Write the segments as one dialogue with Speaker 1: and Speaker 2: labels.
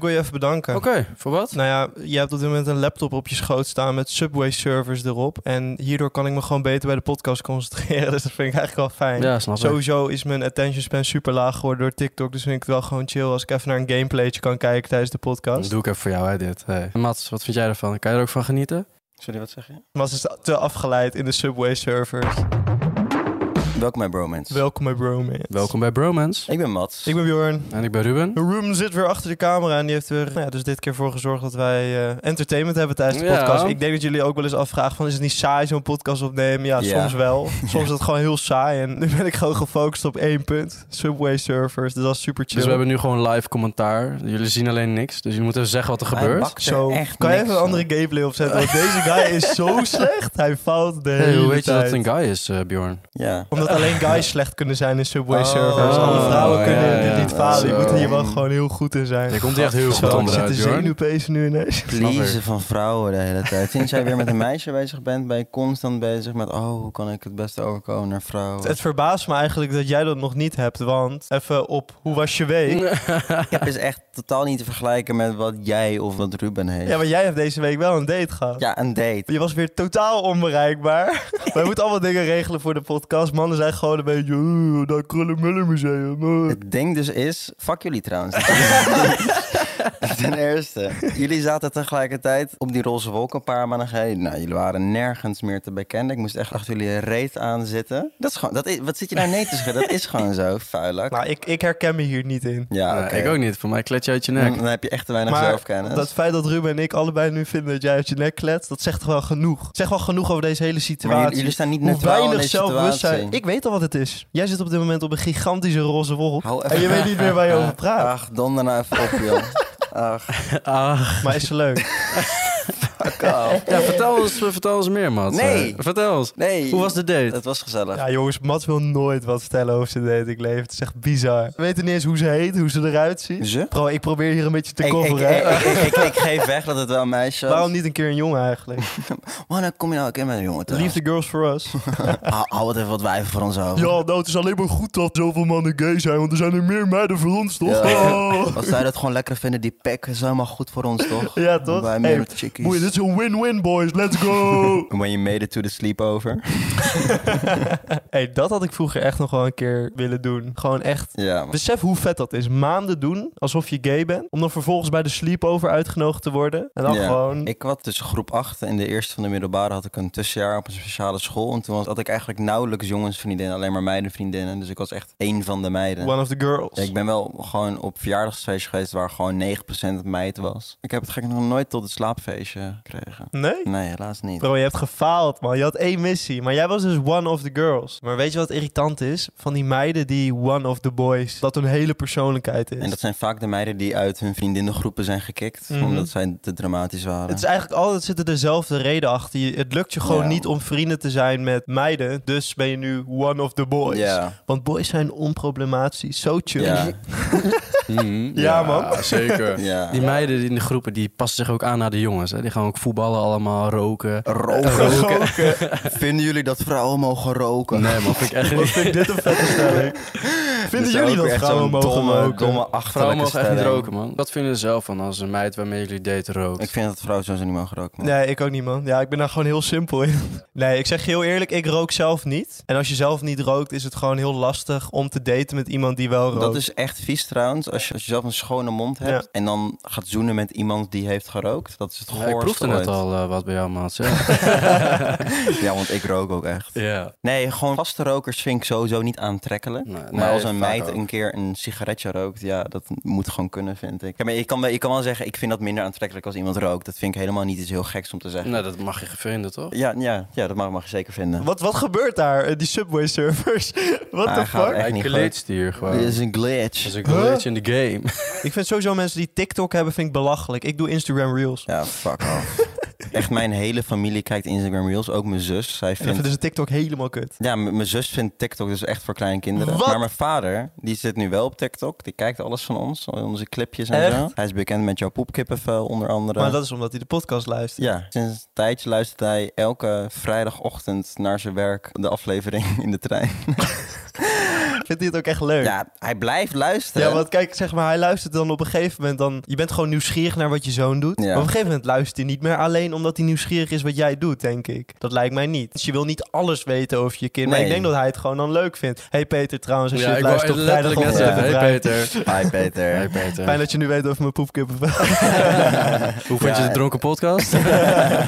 Speaker 1: wil je even bedanken.
Speaker 2: Oké, voor wat?
Speaker 1: Nou ja, je hebt op dit moment een laptop op je schoot staan met Subway-servers erop. En hierdoor kan ik me gewoon beter bij de podcast concentreren. Dus dat vind ik eigenlijk wel fijn.
Speaker 2: Ja, snap ik.
Speaker 1: Sowieso is mijn attention span super laag geworden door TikTok. Dus vind ik het wel gewoon chill als ik even naar een gameplaytje kan kijken tijdens de
Speaker 2: Dan
Speaker 1: podcast.
Speaker 2: doe ik even voor jou, hè, dit. Hey. Mats, wat vind jij ervan? Kan je er ook van genieten?
Speaker 3: Sorry, wat zeg je?
Speaker 1: Maar ze is te afgeleid in de Subway-servers.
Speaker 3: Welkom bij Bromance.
Speaker 1: Welkom bij Bromance.
Speaker 2: Welkom bij Bromance.
Speaker 3: Ik ben Mats.
Speaker 1: Ik ben Bjorn.
Speaker 2: En ik ben Ruben.
Speaker 1: Room zit weer achter de camera en die heeft er nou ja, dus dit keer voor gezorgd dat wij eh, entertainment hebben tijdens de
Speaker 2: Ja.
Speaker 1: podcast. Ik denk dat jullie ook wel eens afvragen van is het niet saai zo'n podcast opnemen? Ja,
Speaker 3: Ja.
Speaker 1: soms wel. Soms is het gewoon heel saai en nu ben ik gewoon gefocust op één punt. Subway surfers, dus dat is super chill.
Speaker 2: Dus we hebben nu gewoon live commentaar. Jullie zien alleen niks, dus jullie moet even zeggen wat er
Speaker 3: Hij
Speaker 2: gebeurt.
Speaker 3: bakt er
Speaker 1: zo,
Speaker 3: echt
Speaker 1: kan je
Speaker 3: niks
Speaker 1: even een
Speaker 3: van.
Speaker 1: andere gameplay opzetten? Want deze guy is zo slecht. Hij fout de
Speaker 2: Hey,
Speaker 1: hele
Speaker 2: hoe weet je dat
Speaker 1: tijd.
Speaker 2: het een guy is, eh, Bjorn?
Speaker 3: Ja.
Speaker 1: Omdat alleen guys slecht kunnen zijn in Subway
Speaker 3: Oh.
Speaker 1: surfers. Alle
Speaker 3: Oh,
Speaker 1: vrouwen
Speaker 3: ja,
Speaker 1: kunnen
Speaker 3: ja,
Speaker 1: dit
Speaker 3: ja.
Speaker 1: niet falen. Je
Speaker 2: Zo.
Speaker 1: moet hier wel gewoon heel goed in zijn.
Speaker 2: Je komt hier echt heel
Speaker 1: Zo,
Speaker 2: goed
Speaker 1: ik zit de
Speaker 2: onderuit, Bjorn.
Speaker 1: zenuwpezen nu ineens.
Speaker 3: Pleasen van vrouwen de hele tijd. Sinds jij weer met een meisje bezig bent, ben je constant bezig met... Oh, hoe kan ik het beste overkomen naar vrouwen?
Speaker 1: Het verbaast me eigenlijk dat jij dat nog niet hebt, want even op hoe was je week?
Speaker 3: Het is echt totaal niet te vergelijken met wat jij of wat Ruben heeft.
Speaker 1: Ja, maar jij hebt deze week wel een date gehad.
Speaker 3: Ja, een date.
Speaker 1: Je was weer totaal onbereikbaar. Wij moeten allemaal dingen regelen voor de podcast. Mannen zijn gewoon een beetje, "Oeh, dat krullenmullen museum. eh."
Speaker 3: Het ding dus is, fuck jullie trouwens. Ten eerste, jullie zaten tegelijkertijd op die roze wolk een paar maanden geleden. Nou, jullie waren nergens meer te bekennen. Ik moest echt achter jullie reet aan zitten. Dat is gewoon, dat is, wat zit je nou nee te zeggen? Dat is gewoon zo, vuilak.
Speaker 1: Nou, ik, ik herken me hier niet in.
Speaker 3: ja,
Speaker 2: Nee,
Speaker 3: oké.
Speaker 2: Ik ook niet, voor mij klet je uit je
Speaker 3: Dan,
Speaker 2: nek.
Speaker 3: dan heb je echt te weinig
Speaker 1: Maar
Speaker 3: zelfkennis.
Speaker 1: Dat feit dat Ruben en ik allebei nu vinden dat jij uit je nek kletst, dat zegt wel genoeg. Zegt wel genoeg over deze hele
Speaker 3: maar
Speaker 1: situatie.
Speaker 3: jullie, jullie staan niet
Speaker 1: Hoe
Speaker 3: neutraal in
Speaker 1: weinig
Speaker 3: deze
Speaker 1: zelfbewustzijn.
Speaker 3: situatie.
Speaker 1: Ik weet al wat het is. Jij zit op dit moment op een gigantische roze wolk.
Speaker 3: Hou
Speaker 1: En je weet niet meer waar je over praat.
Speaker 3: Ach, donder nou even op, joh. Ach,
Speaker 2: Ah.
Speaker 1: Maar is ze leuk?
Speaker 3: fuck off.
Speaker 2: Ja, vertel ons, vertel ons meer, Mats.
Speaker 3: Nee.
Speaker 2: Eh, vertel ons.
Speaker 3: Nee.
Speaker 2: Hoe was de date?
Speaker 3: Het was gezellig.
Speaker 1: Ja, jongens, Mats wil nooit wat vertellen over zijn datingleven. Het is echt bizar. We weten niet eens hoe ze heet, hoe ze eruit ziet.
Speaker 3: Ze?
Speaker 1: Bro, ik probeer hier een beetje te
Speaker 3: Ik, ik, ik,
Speaker 1: coveren. hè.
Speaker 3: ik, ik- ik geef weg dat het wel een meisje was.
Speaker 1: Waarom niet een keer een jongen eigenlijk?
Speaker 3: Oh, dan kom je nou ook in met een jongen
Speaker 1: Leave
Speaker 3: trouwens.
Speaker 1: the girls for us.
Speaker 3: Hou, hou het even wat wijven voor ons over.
Speaker 1: nou, het is alleen maar goed dat zoveel mannen gay zijn, want er zijn er meer meiden voor ons, Oh.
Speaker 3: Ja. Als zij dat gewoon lekker vinden, die pek is helemaal goed voor ons, toch?
Speaker 1: Ja, toch?
Speaker 3: Wij
Speaker 1: Hey, dus-
Speaker 3: meer met chickies.
Speaker 1: Boeien, dit is een win-win, boys. Let's go!
Speaker 3: When you made it to the sleepover.
Speaker 1: hey, dat had ik vroeger echt nog wel een keer willen doen. Gewoon echt...
Speaker 3: Ja, maar-
Speaker 1: Besef hoe vet dat is. Maanden doen alsof je gay bent. Om dan vervolgens bij de sleepover uitgenodigd te worden. En dan
Speaker 3: Ja.
Speaker 1: gewoon
Speaker 3: Ik had tussen groep 8 en de eerste van de middelbare had ik een tussenjaar op een speciale school. En toen was- had ik eigenlijk nauwelijks jongensvriendinnen, alleen maar meidenvriendinnen. Dus ik was echt één van de meiden.
Speaker 1: one of the girls.
Speaker 3: Ja, ik ben wel gewoon op verjaardagsfeestjes geweest waar gewoon 9% meid was. Ik heb het gek nog nooit tot het slaapfeestje gekregen.
Speaker 1: Nee?
Speaker 3: Nee, helaas niet.
Speaker 1: Bro, je hebt gefaald, man. Je had één missie. Maar jij was dus one of the girls. Maar weet je wat irritant is? Van die meiden die one of the boys. Dat hun hele persoonlijkheid is.
Speaker 3: En dat zijn vaak de meiden die uit hun vriendinnengroepen zijn gekikt.
Speaker 1: Mhm.
Speaker 3: Omdat zij te dramatisch waren.
Speaker 1: Het is eigenlijk altijd zitten dezelfde reden achter. Je- Het lukt je gewoon
Speaker 3: Ja.
Speaker 1: niet om vrienden te zijn met meiden. Dus ben je nu one of the boys.
Speaker 3: Ja.
Speaker 1: Want boys zijn onproblematisch. Zo chill.
Speaker 3: Ja.
Speaker 2: Mhm,
Speaker 1: Ja, man.
Speaker 2: Zeker.
Speaker 3: ja.
Speaker 2: Die meiden die in de groepen, die passen zich ook aan naar de jongens. Hè. Die gaan ook voetballen allemaal, roken.
Speaker 3: Roken. Vinden jullie dat vrouwen mogen roken?
Speaker 2: Nee, man, vind ik echt
Speaker 1: Wat
Speaker 2: niet.
Speaker 1: vind ik dit een vette stelling.
Speaker 3: Dat
Speaker 1: Vinden
Speaker 3: is
Speaker 1: jullie
Speaker 3: Dus ook
Speaker 1: dat
Speaker 3: echt
Speaker 1: vrouwen
Speaker 3: zo'n
Speaker 1: mogen
Speaker 3: domme,
Speaker 1: roken?
Speaker 3: domme
Speaker 2: Vrouwen
Speaker 3: achterlijke
Speaker 2: mogen echt niet
Speaker 3: stelling.
Speaker 2: roken, man. Wat vinden ze zelf van als een meid waarmee jullie daten rookt?
Speaker 3: Ik vind dat vrouwen sowieso niet mogen roken. man.
Speaker 1: Nee, ik ook niet, man. Ja, ik ben daar gewoon heel simpel in. Nee, ik zeg je heel eerlijk, ik rook zelf niet. En als je zelf niet rookt, is het gewoon heel lastig om te daten met iemand die wel rookt.
Speaker 3: Dat is echt vies trouwens. Als je, als je zelf een schone mond hebt
Speaker 1: Ja.
Speaker 3: en dan gaat zoenen met iemand die heeft gerookt. Dat is het
Speaker 2: Ja,
Speaker 3: goorste
Speaker 2: ik proefde net
Speaker 3: ooit.
Speaker 2: al eh, wat bij jou, Mats. Ja.
Speaker 3: Ja, want ik rook ook echt.
Speaker 2: ja.
Speaker 3: Nee, gewoon vaste rokers vind ik sowieso niet aantrekkelijk.
Speaker 2: Nee,
Speaker 3: maar
Speaker 2: nee,
Speaker 3: als een
Speaker 2: vaak
Speaker 3: meid
Speaker 2: ook.
Speaker 3: een keer een sigaretje rookt, ja, dat moet gewoon kunnen, vind ik. Ja, maar je kan, wel- je kan wel zeggen, ik vind dat minder aantrekkelijk als iemand rookt. Dat vind ik helemaal niet iets heel geks om te zeggen.
Speaker 2: Nou, dat mag je vinden, toch?
Speaker 3: Ja, ja, ja dat mag, mag je zeker vinden.
Speaker 1: Wat, wat gebeurt daar? Eh, Die subway servers. What
Speaker 3: Ah,
Speaker 1: the
Speaker 3: gaat
Speaker 1: fuck?
Speaker 3: echt
Speaker 2: Hij
Speaker 3: niet
Speaker 2: glitst hier gewoon.
Speaker 3: Dit
Speaker 2: Dat
Speaker 3: is een glitch.
Speaker 2: is een
Speaker 1: Huh?
Speaker 2: glitch in de game.
Speaker 1: Ik vind sowieso mensen die TikTok hebben, vind ik belachelijk. Ik doe Instagram Reels.
Speaker 3: Ja, fuck off. Echt, mijn hele familie kijkt Instagram Reels. Ook mijn zus. Zij
Speaker 1: En dan
Speaker 3: vindt...
Speaker 1: vinden ze TikTok helemaal kut.
Speaker 3: Ja, m- mijn zus vindt TikTok dus echt voor kleine kinderen.
Speaker 1: Wat?
Speaker 3: Maar mijn vader, die zit nu wel op TikTok. Die kijkt alles van ons. al Onze clipjes en
Speaker 1: Echt?
Speaker 3: zo. Hij is bekend met jouw poepkippenvel, onder andere.
Speaker 1: Maar dat is omdat hij de podcast luistert.
Speaker 3: Ja, sinds een tijdje luistert hij elke vrijdagochtend naar zijn werk de aflevering in de trein.
Speaker 1: Vindt hij het ook echt leuk?
Speaker 3: Ja, hij blijft luisteren.
Speaker 1: Ja, want kijk, zeg maar, hij luistert dan op een gegeven moment dan... Je bent gewoon nieuwsgierig naar wat je zoon doet.
Speaker 3: Ja.
Speaker 1: Maar op een gegeven moment luistert hij niet meer alleen omdat hij nieuwsgierig is wat jij doet, denk ik. Dat lijkt mij niet. Dus je wil niet alles weten over je kind. Maar
Speaker 3: Nee.
Speaker 1: ik denk dat hij het gewoon dan leuk vindt. hey Peter, trouwens, als je
Speaker 2: ja,
Speaker 1: het
Speaker 2: ik wou
Speaker 1: luistert op
Speaker 2: letterlijk net
Speaker 1: vrijdagochtend,
Speaker 2: zeggen.
Speaker 1: even
Speaker 2: Hey
Speaker 1: vrij.
Speaker 2: Peter.
Speaker 3: Hi Peter.
Speaker 2: Hey Peter.
Speaker 1: Fijn dat je nu weet over mijn poepkippen.
Speaker 2: Hoe vond je
Speaker 3: Ja.
Speaker 2: de dronken podcast?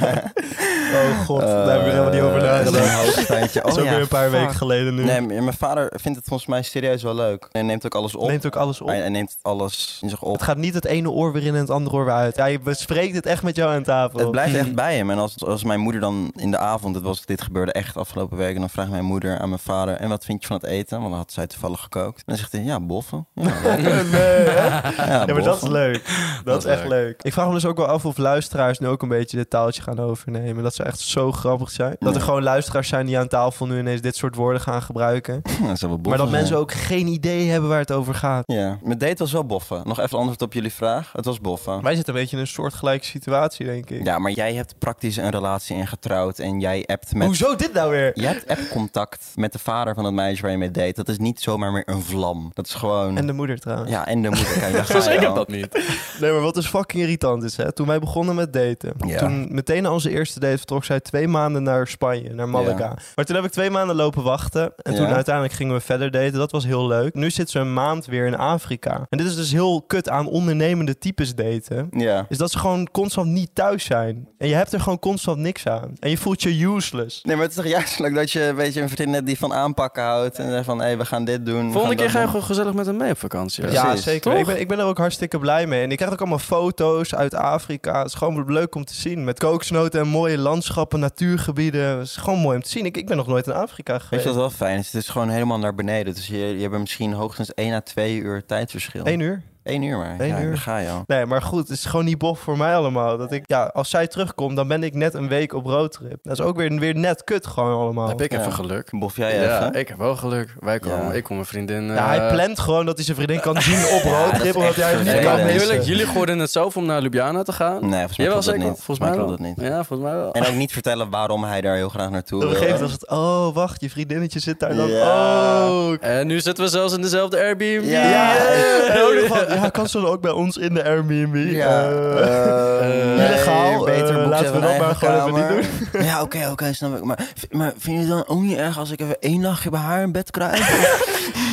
Speaker 3: Eh,
Speaker 1: oh god, daar heb ik er helemaal niet over
Speaker 3: Eh, dat is
Speaker 1: nagedacht.
Speaker 3: een hoogstandje.
Speaker 1: Dat is
Speaker 3: Oh,
Speaker 1: ook
Speaker 3: ja,
Speaker 1: weer een paar
Speaker 3: fuck.
Speaker 1: weken geleden nu.
Speaker 3: Nee, maar mijn vader vindt het volgens mij serieus wel leuk. Hij neemt ook alles op.
Speaker 1: Neemt ook alles op.
Speaker 3: Hij, hij neemt alles in zich op.
Speaker 1: Het gaat niet het ene oor weer in en het andere oor weer uit. Hij bespreekt het echt met jou aan tafel.
Speaker 3: Het blijft echt bij hem. En als, als mijn moeder dan in de avond, het was, dit gebeurde echt afgelopen week, en dan vraagt mijn moeder aan mijn vader: En wat vind je van het eten? Want dan had zij toevallig gekookt. En dan zegt hij: Ja, boffen. Ja, lekker.
Speaker 1: nee, hè?
Speaker 3: Ja,
Speaker 1: Ja, maar dat is
Speaker 3: boffen.
Speaker 1: leuk. Dat,
Speaker 2: Dat
Speaker 1: is
Speaker 2: is
Speaker 1: echt leuk.
Speaker 2: leuk.
Speaker 1: Ik vraag me dus ook wel af of luisteraars nu ook een beetje dit taaltje gaan overnemen. Dat zou echt zo grappig zijn. Dat er
Speaker 3: Ja.
Speaker 1: gewoon luisteraars zijn die aan tafel nu ineens dit soort woorden gaan gebruiken.
Speaker 3: Dat zou wel
Speaker 1: Maar dat
Speaker 3: boffen
Speaker 1: mensen
Speaker 3: zijn.
Speaker 1: ook geen idee hebben waar het over gaat.
Speaker 3: Ja, mijn date was wel boffen. Nog even antwoord op jullie vraag. Het was boffen.
Speaker 1: Wij zitten een beetje in een soortgelijke situatie, denk ik.
Speaker 3: Ja, maar jij hebt praktisch een relatie ingetrouwd en jij appt met...
Speaker 1: Hoezo dit nou weer?
Speaker 3: Je hebt appcontact met de vader van het meisje waar je mee date. Dat is niet zomaar meer een vlam. Dat is gewoon...
Speaker 1: En de moeder trouwens.
Speaker 3: Ja, en de moeder. Kijk, daar ga
Speaker 2: Dus
Speaker 3: je
Speaker 2: ik heb
Speaker 3: al.
Speaker 2: dat niet.
Speaker 1: Nee, maar wat dus fucking irritant is, hè. Toen wij begonnen met daten.
Speaker 3: Ja.
Speaker 1: Toen meteen na onze eerste date vertrok zij twee maanden naar Spanje, naar Malaga.
Speaker 3: Ja.
Speaker 1: Maar toen heb ik twee maanden lopen wachten. En toen
Speaker 3: Ja.
Speaker 1: uiteindelijk gingen we verder daten. Dat was heel leuk. Nu zit ze een maand weer in Afrika. En dit is dus heel kut aan ondernemende types daten.
Speaker 3: Ja.
Speaker 1: Is dat ze gewoon constant niet thuis zijn. En je hebt er gewoon constant niks aan. En je voelt je useless.
Speaker 3: Nee, maar het is toch juist leuk dat je weet je, een vriendin hebt die van aanpakken houdt. En zegt van, hé, we gaan dit doen. we
Speaker 2: Volgende
Speaker 3: gaan
Speaker 2: keer
Speaker 3: dat
Speaker 2: ga je
Speaker 3: doen.
Speaker 2: gewoon gezellig met hem mee op vakantie.
Speaker 3: Ja.
Speaker 1: Ja,
Speaker 3: Precies.
Speaker 1: zeker.
Speaker 2: Toch?
Speaker 1: Ik ben, ik ben er ook hartstikke blij mee. En ik krijg ook allemaal foto's uit Afrika. Het is gewoon leuk om te zien. Met kooksnoten en mooie landschappen, natuurgebieden. Het is gewoon mooi om te zien. Ik, ik ben nog nooit in Afrika
Speaker 3: Weet
Speaker 1: geweest.
Speaker 3: je wat wel fijn is? Het is gewoon helemaal naar beneden. Dus je, je hebt misschien hoogstens 1 à 2 uur tijdverschil.
Speaker 1: Eén uur?
Speaker 3: Eén uur maar.
Speaker 1: Eén
Speaker 3: ja,
Speaker 1: uur.
Speaker 3: daar ga je al.
Speaker 1: Nee, maar goed. Het is gewoon niet bof voor mij allemaal. Dat ik, ja, als zij terugkomt, dan ben ik net een week op roadtrip. Dat is ook weer, weer net kut gewoon allemaal.
Speaker 2: Heb ik
Speaker 3: Ja.
Speaker 2: even geluk.
Speaker 3: Bof jij
Speaker 2: Ja,
Speaker 3: even?
Speaker 2: ik heb wel geluk. Wij komen,
Speaker 3: Ja.
Speaker 2: ik kom mijn vriendin.
Speaker 1: Ja, hij
Speaker 2: eh,
Speaker 1: plant gewoon dat hij zijn vriendin kan zien op roadtrip.
Speaker 3: echt
Speaker 1: omdat hij hem niet
Speaker 2: Nee,
Speaker 1: kan
Speaker 2: maar
Speaker 3: vervelend.
Speaker 1: missen.
Speaker 2: eerlijk, jullie gooiden het zelf om naar Ljubljana te gaan.
Speaker 3: Nee, volgens mij
Speaker 2: Jawel,
Speaker 3: klopt dat
Speaker 2: zeker.
Speaker 3: niet.
Speaker 2: Volgens mij
Speaker 3: klopt
Speaker 2: wel.
Speaker 3: dat niet.
Speaker 2: Ja, volgens mij wel.
Speaker 3: En ook niet vertellen waarom hij daar heel graag naartoe
Speaker 1: Op een
Speaker 3: wil.
Speaker 1: gegeven moment was het, oh wacht, je vriendinnetje zit daar dan.
Speaker 3: Ja.
Speaker 1: Oh,
Speaker 2: En nu zitten we zelfs in dezelfde Airbnb.
Speaker 3: Ja.
Speaker 1: En ook nog van, ja, kan ze dan ook bij ons in de Airbnb?
Speaker 3: Ja.
Speaker 1: Eh,
Speaker 3: Eh,
Speaker 1: illegaal, eh,
Speaker 3: boek
Speaker 1: laten
Speaker 3: ze
Speaker 1: we
Speaker 3: van
Speaker 1: dat maar
Speaker 3: eigen
Speaker 1: gewoon even
Speaker 3: kamer.
Speaker 1: niet
Speaker 3: Ja, oké, oké, snap ik. Maar, v- maar vind je het dan ook niet erg als ik even één nachtje bij haar in bed krijg?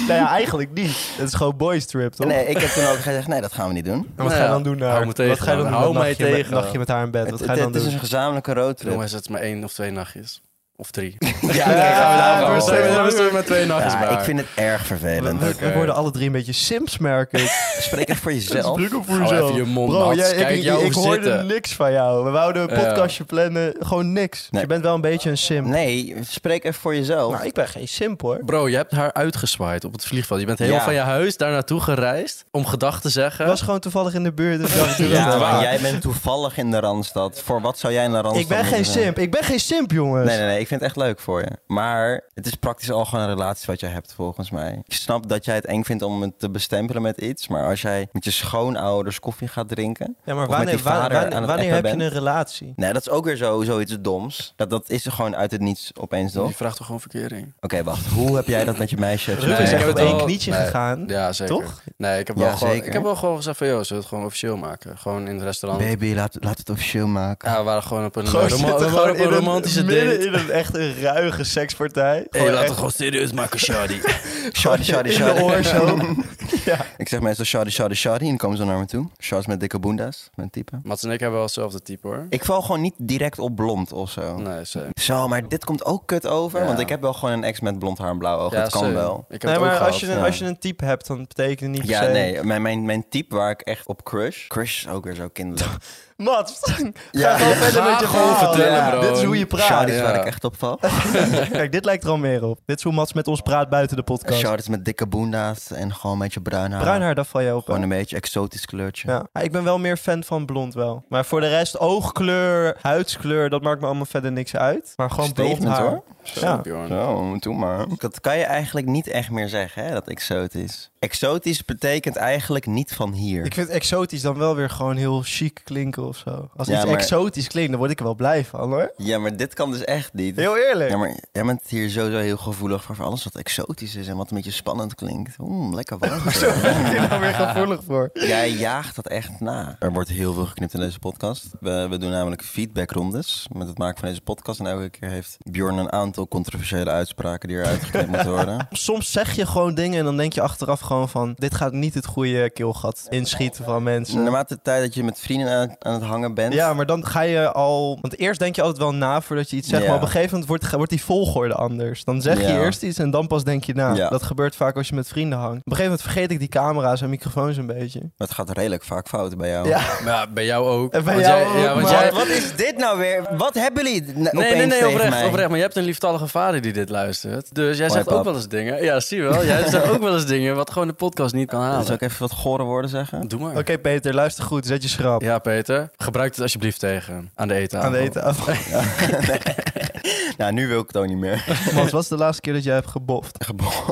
Speaker 1: nou ja, eigenlijk niet. Het is gewoon boys trip, toch?
Speaker 3: nee, ik heb toen ook gezegd, nee, dat gaan we niet doen.
Speaker 1: En wat
Speaker 2: Nou
Speaker 1: ga je
Speaker 2: ja,
Speaker 1: dan doen daar?
Speaker 2: hou me tegen
Speaker 1: wat ga je dan
Speaker 2: dan,
Speaker 1: doen?
Speaker 2: hou
Speaker 1: dat
Speaker 2: mij
Speaker 1: nachtje met-
Speaker 2: tegen.
Speaker 1: nachtje met haar in bed,
Speaker 3: Het,
Speaker 1: wat ga je
Speaker 3: het-
Speaker 1: dan
Speaker 3: het
Speaker 1: doen?
Speaker 3: is een gezamenlijke roadtrip.
Speaker 2: Jongens, het is maar één of twee nachtjes. Of drie.
Speaker 3: Ja,
Speaker 1: oké, gaan we daar
Speaker 2: we
Speaker 1: wel.
Speaker 2: zijn- we zijn met twee nachtjes
Speaker 3: Ja,
Speaker 2: bij
Speaker 3: ik
Speaker 2: haar.
Speaker 3: vind het erg
Speaker 1: We-
Speaker 3: vervelend.
Speaker 1: we, we worden alle drie een beetje sims, merk ik.
Speaker 3: Spreek echt voor jezelf.
Speaker 1: Druk op voor
Speaker 2: Hou
Speaker 1: jezelf.
Speaker 2: even je mond
Speaker 1: Bro,
Speaker 2: nat.
Speaker 1: jij,
Speaker 2: Kijk
Speaker 1: ik, ik,
Speaker 2: jou
Speaker 1: ik hoorde
Speaker 2: zitten.
Speaker 1: niks van jou. We wouden een
Speaker 2: Ja.
Speaker 1: podcastje plannen, gewoon niks. Dus
Speaker 3: Nee.
Speaker 1: Je bent wel een beetje een sim.
Speaker 3: Nee, spreek even voor jezelf.
Speaker 1: Nou, ik ben geen simp hoor.
Speaker 2: Bro, je hebt haar uitgezwaaid op het vliegveld. Je bent helemaal
Speaker 3: Ja.
Speaker 2: van je huis daar naartoe gereist om gedacht te zeggen.
Speaker 1: Ik was gewoon toevallig in de buurt. dus ik dacht, doe dat
Speaker 3: ja,
Speaker 1: dan.
Speaker 3: maar jij bent toevallig in de Randstad. Voor wat zou jij in de Randstad
Speaker 1: Ik ben geen
Speaker 3: moeten zijn?
Speaker 1: simp. Ik ben geen simp, jongens.
Speaker 3: Nee, nee, nee. Ik vind het echt leuk voor je. Maar het is praktisch al gewoon een relatie wat jij hebt, volgens mij. Ik snap dat jij het eng vindt om het te bestempelen met iets. Maar als jij met je schoonouders koffie gaat drinken...
Speaker 1: Ja, maar
Speaker 3: Of met
Speaker 1: wanneer,
Speaker 3: die vader
Speaker 1: wanneer,
Speaker 3: aan
Speaker 1: wanneer,
Speaker 3: het
Speaker 1: wanneer
Speaker 3: appen
Speaker 1: heb je
Speaker 3: bent.
Speaker 1: een relatie?
Speaker 3: Nee, dat is ook weer zo, zoiets doms. Dat, dat is er gewoon uit het niets opeens, toch?
Speaker 2: Die
Speaker 3: Oké,
Speaker 2: vraagt toch gewoon verkering?
Speaker 3: wacht. Hoe heb jij dat met je meisje?
Speaker 1: Ruud is
Speaker 2: ik
Speaker 1: echt
Speaker 2: heb
Speaker 1: op
Speaker 2: het
Speaker 1: één
Speaker 2: wel-
Speaker 1: knietje
Speaker 2: nee.
Speaker 1: gegaan.
Speaker 2: Ja, zeker.
Speaker 1: Toch?
Speaker 2: Nee, ik heb,
Speaker 3: Hm? Ja,
Speaker 2: wel gewoon,
Speaker 3: zeker.
Speaker 2: ik heb wel gewoon gezegd van, joh, zullen we het gewoon officieel maken? Gewoon in het restaurant.
Speaker 3: Baby, laat, laat het officieel maken.
Speaker 1: Ah.
Speaker 2: Ja, we waren gewoon op een,
Speaker 1: Gewoon
Speaker 2: roma-
Speaker 1: zitten
Speaker 2: we
Speaker 1: gewoon
Speaker 2: waren op een
Speaker 1: in
Speaker 2: romantische
Speaker 1: midden
Speaker 2: date.
Speaker 1: in een echt een ruige sekspartij.
Speaker 2: Hé, laten we
Speaker 1: echt
Speaker 2: gewoon serieus maken, Shadi.
Speaker 3: Shardy, shardy,
Speaker 1: in de
Speaker 3: shardy.
Speaker 1: oor zo. ja.
Speaker 3: Ik zeg meestal shardy, shardy, shardy. En dan komen ze naar me toe. Shards met dikke boenda's. Mijn type.
Speaker 2: Mats en ik hebben wel hetzelfde type, hoor.
Speaker 3: Ik val gewoon niet direct op blond of zo.
Speaker 2: Nee, same.
Speaker 3: Zo, maar dit komt ook kut over.
Speaker 2: Ja.
Speaker 3: Want ik heb wel gewoon een ex met blond haar en blauw oog. dat Oh, kan
Speaker 2: same.
Speaker 3: wel.
Speaker 2: Ik heb
Speaker 1: Nee,
Speaker 2: het ook
Speaker 1: maar als
Speaker 2: gehad.
Speaker 1: je, een,
Speaker 3: ja.
Speaker 1: als je een type hebt, dan betekent het niet
Speaker 3: Ja,
Speaker 1: per se...
Speaker 3: nee. Mijn, mijn, mijn type waar ik echt op crush. Crush is ook weer zo kinderlijk. Oh,
Speaker 1: Mats, ga
Speaker 3: Ja.
Speaker 1: gewoon
Speaker 3: Ja.
Speaker 1: verder met
Speaker 2: Ga
Speaker 1: je
Speaker 2: gewoon
Speaker 1: verhaal.
Speaker 2: vertellen, bro.
Speaker 1: Dit is hoe je praat.
Speaker 3: Shardies
Speaker 2: ja.
Speaker 3: waar ik echt op val.
Speaker 1: Kijk, dit lijkt er al meer op. Dit is hoe Mats met ons praat buiten de podcast.
Speaker 3: Shardies met dikke boenda's en gewoon een beetje bruin haar.
Speaker 1: Bruin haar, dat val je op. hè?
Speaker 3: Gewoon een beetje exotisch kleurtje.
Speaker 1: Ja. Ah, Ik ben wel meer fan van blond wel. Maar voor de rest, oogkleur, huidskleur, dat maakt me allemaal verder niks uit. Maar gewoon blond
Speaker 3: Statement,
Speaker 1: haar.
Speaker 3: hoor.
Speaker 1: Ja.
Speaker 2: Bjorn.
Speaker 3: Zo, doe maar. Dat kan je eigenlijk niet echt meer zeggen, hè, dat exotisch. Exotisch betekent eigenlijk niet van hier.
Speaker 1: Ik vind exotisch dan wel weer gewoon heel chic klinken of zo. Als
Speaker 3: Ja,
Speaker 1: iets
Speaker 3: maar-
Speaker 1: exotisch klinkt, dan word ik er wel blij van hoor.
Speaker 3: Ja, maar dit kan dus echt niet. niet.
Speaker 1: Heel eerlijk.
Speaker 3: Ja, maar jij bent hier sowieso heel gevoelig voor, voor alles wat exotisch is en wat een beetje spannend klinkt. Oeh, lekker
Speaker 1: Zo
Speaker 3: warm.
Speaker 1: ben ik er nou weer gevoelig voor.
Speaker 3: Jij jaagt dat echt na. Er wordt heel veel geknipt in deze podcast. We, we doen namelijk feedbackrondes met het maken van deze podcast. En elke keer heeft Bjorn een aantal controversiële uitspraken die eruit geknipt moeten worden.
Speaker 1: Soms zeg je gewoon dingen en dan denk je achteraf gewoon van... dit gaat niet het goede keelgat inschieten van mensen.
Speaker 3: Naarmate de tijd dat je met vrienden aan het, aan het hangen bent.
Speaker 1: Ja, maar dan ga je al... Want eerst denk je altijd wel na voordat je iets zegt.
Speaker 3: Ja.
Speaker 1: Maar op een gegeven moment wordt, wordt die volgorde anders. Dan zeg je
Speaker 3: Ja.
Speaker 1: eerst iets en dan pas denk je na.
Speaker 3: Ja.
Speaker 1: Dat gebeurt vaak als je met vrienden hangt. Op een gegeven moment vergeet ik die camera's en microfoons een beetje.
Speaker 3: Het gaat redelijk vaak fout bij jou.
Speaker 1: Ja.
Speaker 2: Maar ja, bij jou ook.
Speaker 1: En bij
Speaker 2: Want
Speaker 1: jou
Speaker 2: jij-
Speaker 1: ook,
Speaker 2: ja, want
Speaker 1: maar-
Speaker 2: jij-
Speaker 3: Wat, wat is dit nou weer? Wat hebben jullie na-
Speaker 2: Nee, nee,
Speaker 3: opeens
Speaker 2: nee,
Speaker 3: tegen
Speaker 2: oprecht,
Speaker 3: mij?
Speaker 2: oprecht. Maar je hebt een lieftallige vader die dit luistert. Dus jij
Speaker 3: Hoi,
Speaker 2: zegt ook
Speaker 3: pap.
Speaker 2: wel eens dingen. Ja, zie je wel. Jij zegt ook wel eens dingen wat gewoon de podcast niet kan
Speaker 3: Zal
Speaker 2: halen.
Speaker 3: ik even wat gore woorden zeggen?
Speaker 2: Doe maar.
Speaker 1: Oké Peter, luister goed. Zet je schrap
Speaker 2: Ja, Peter. Gebruik het alsjeblieft tegen. Aan de eten.
Speaker 1: aan de eettafel.
Speaker 3: Nou, nu wil ik het ook niet meer.
Speaker 1: Mats, wat is de laatste keer dat jij hebt geboft?
Speaker 3: Geboft.